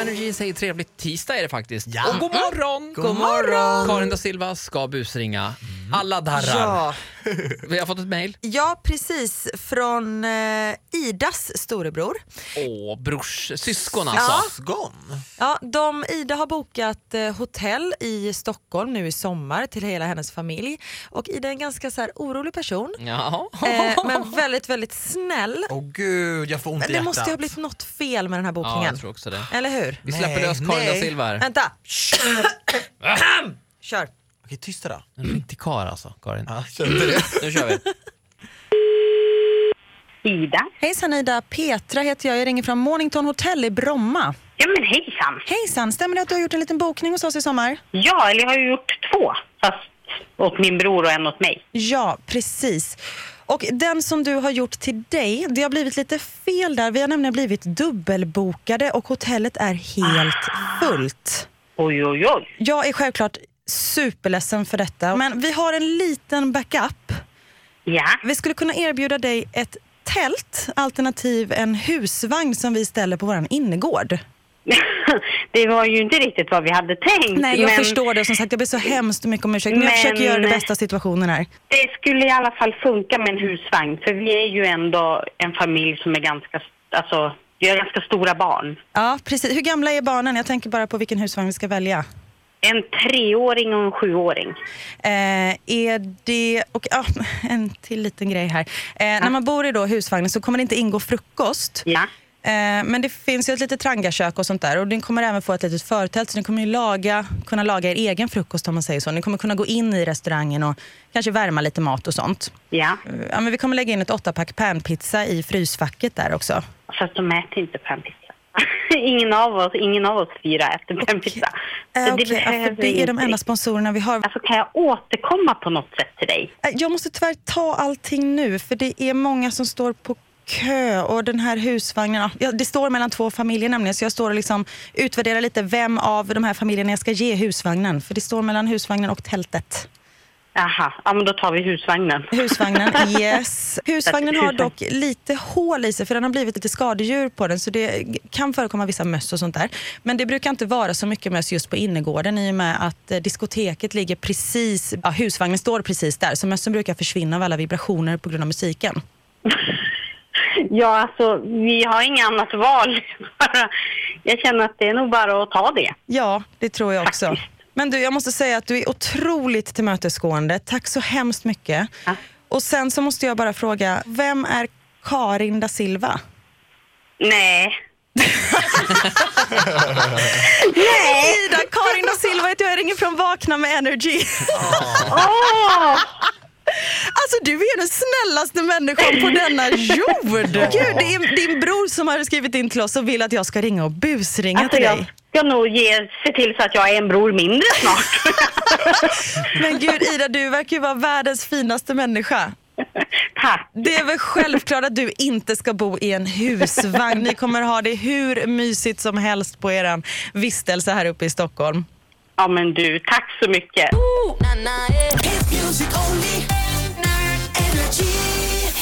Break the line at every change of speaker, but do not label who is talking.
Energy säger trevligt tisdag är det faktiskt.
Ja.
Och god morgon!
God morgon!
Karin da Silva ska busringa. Alla darrar.
Ja.
Vi har fått ett mejl.
ja, precis. Från eh, Idas storebror.
Åh, brors, syskon alltså.
Ja.
Syskon?
Ja, de, Ida har bokat eh, hotell i Stockholm nu i sommar till hela hennes familj. Och Ida är en ganska så här, orolig person,
Ja.
eh, men väldigt, väldigt snäll.
Åh gud, jag får ont
Men det
i hjärtat.
måste ju ha blivit något fel med den här
ja,
bokningen.
jag tror också det.
Eller hur?
Vi släpper
Nej,
lös Karin da
nej.
Silva här.
Vänta! Kör!
Okej, tysta då.
En riktig kar alltså, Karin.
Ja, kände det.
Nu kör vi.
Ida.
Hejsan Ida, Petra heter jag. Jag ringer från Mornington Hotel i Bromma.
Ja men hejsan.
Hejsan, stämmer det att du har gjort en liten bokning hos oss i sommar?
Ja, eller jag har ju gjort två. Fast åt min bror och en åt mig.
Ja, precis. Och den som du har gjort till dig, det har blivit lite fel där. Vi har nämligen blivit dubbelbokade och hotellet är helt fullt.
Oj, oj, oj.
Jag är självklart superledsen för detta, men vi har en liten backup.
Ja.
Vi skulle kunna erbjuda dig ett tält alternativ en husvagn som vi ställer på vår innergård.
det var ju inte riktigt vad vi hade tänkt.
Nej, jag
men
förstår det. Som sagt, jag ber så hemskt mycket om ursäkt. Men, jag
Men-
försöker göra det bästa av situationen här.
Det skulle i alla fall funka med en husvagn. För vi är ju ändå en familj som är ganska... Alltså, vi har ganska stora barn.
Ja, precis. Hur gamla är barnen? Jag tänker bara på vilken husvagn vi ska välja.
En treåring och en sjuåring.
Eh, är det... Och, ja, en till liten grej här. Eh, När man bor i då husvagnen så kommer det inte ingå frukost.
Ja.
Eh, men det finns ju ett litet trangiakök och sånt där. Och ni kommer även få ett litet förtält. Så ni kommer ju laga, kunna laga er egen frukost om man säger så. Ni kommer kunna gå in i restaurangen och kanske värma lite mat och sånt.
Ja.
Eh, Ja, men vi kommer lägga in ett åttapack panpizza i frysfacket där också.
Fast de äter inte pannpizza. ingen, av oss, ingen av oss fyra äter pannpizza.
Eh,
Så
okej, ja,
behöver
för det är de
inte
enda sponsorerna vi har.
Alltså kan jag återkomma på något sätt till dig?
Eh, Jag måste tyvärr ta allting nu, för det är många som står på kö och den här husvagnen, ja, ja, det står mellan två familjer nämligen, så jag står och liksom utvärderar lite vem av de här familjerna jag ska ge husvagnen, för det står mellan husvagnen och tältet.
Aha, ja men då tar vi husvagnen.
Husvagnen, yes. Husvagnen har dock lite hål i sig, för den har blivit lite skadedjur på den, så det kan förekomma vissa möss och sånt där. Men det brukar inte vara så mycket möss just på innergården i och med att eh, diskoteket ligger precis, ja, husvagnen står precis där, så mössen brukar försvinna av alla vibrationer på grund av musiken.
Ja, alltså vi har inget annat val. Bara- jag känner att det är nog bara att ta det.
Ja, det tror jag också.
Faktiskt.
Men du, jag måste säga att du är otroligt tillmötesgående. Tack så hemskt mycket.
Ja.
Och sen så måste jag bara fråga, vem är Karin da Silva?
Nej.
Nej! Ida, Karin da Silva heter jag, jag ringer från Vakna med Energy.
Åh!
Alltså du är den snällaste människan på denna jord. Gud, det är din bror som har skrivit in till oss och vill att jag ska ringa och busringa
Alltså
till
jag
dig.
ska nog ge, se till så att jag är en bror mindre snart.
Men gud Ida, du verkar ju vara världens finaste människa.
Tack.
Det är väl självklart att du inte ska bo i en husvagn. Ni kommer ha det hur mysigt som helst på er vistelse här uppe i Stockholm.
Ja men du, tack så mycket.
Hit music only. Energy.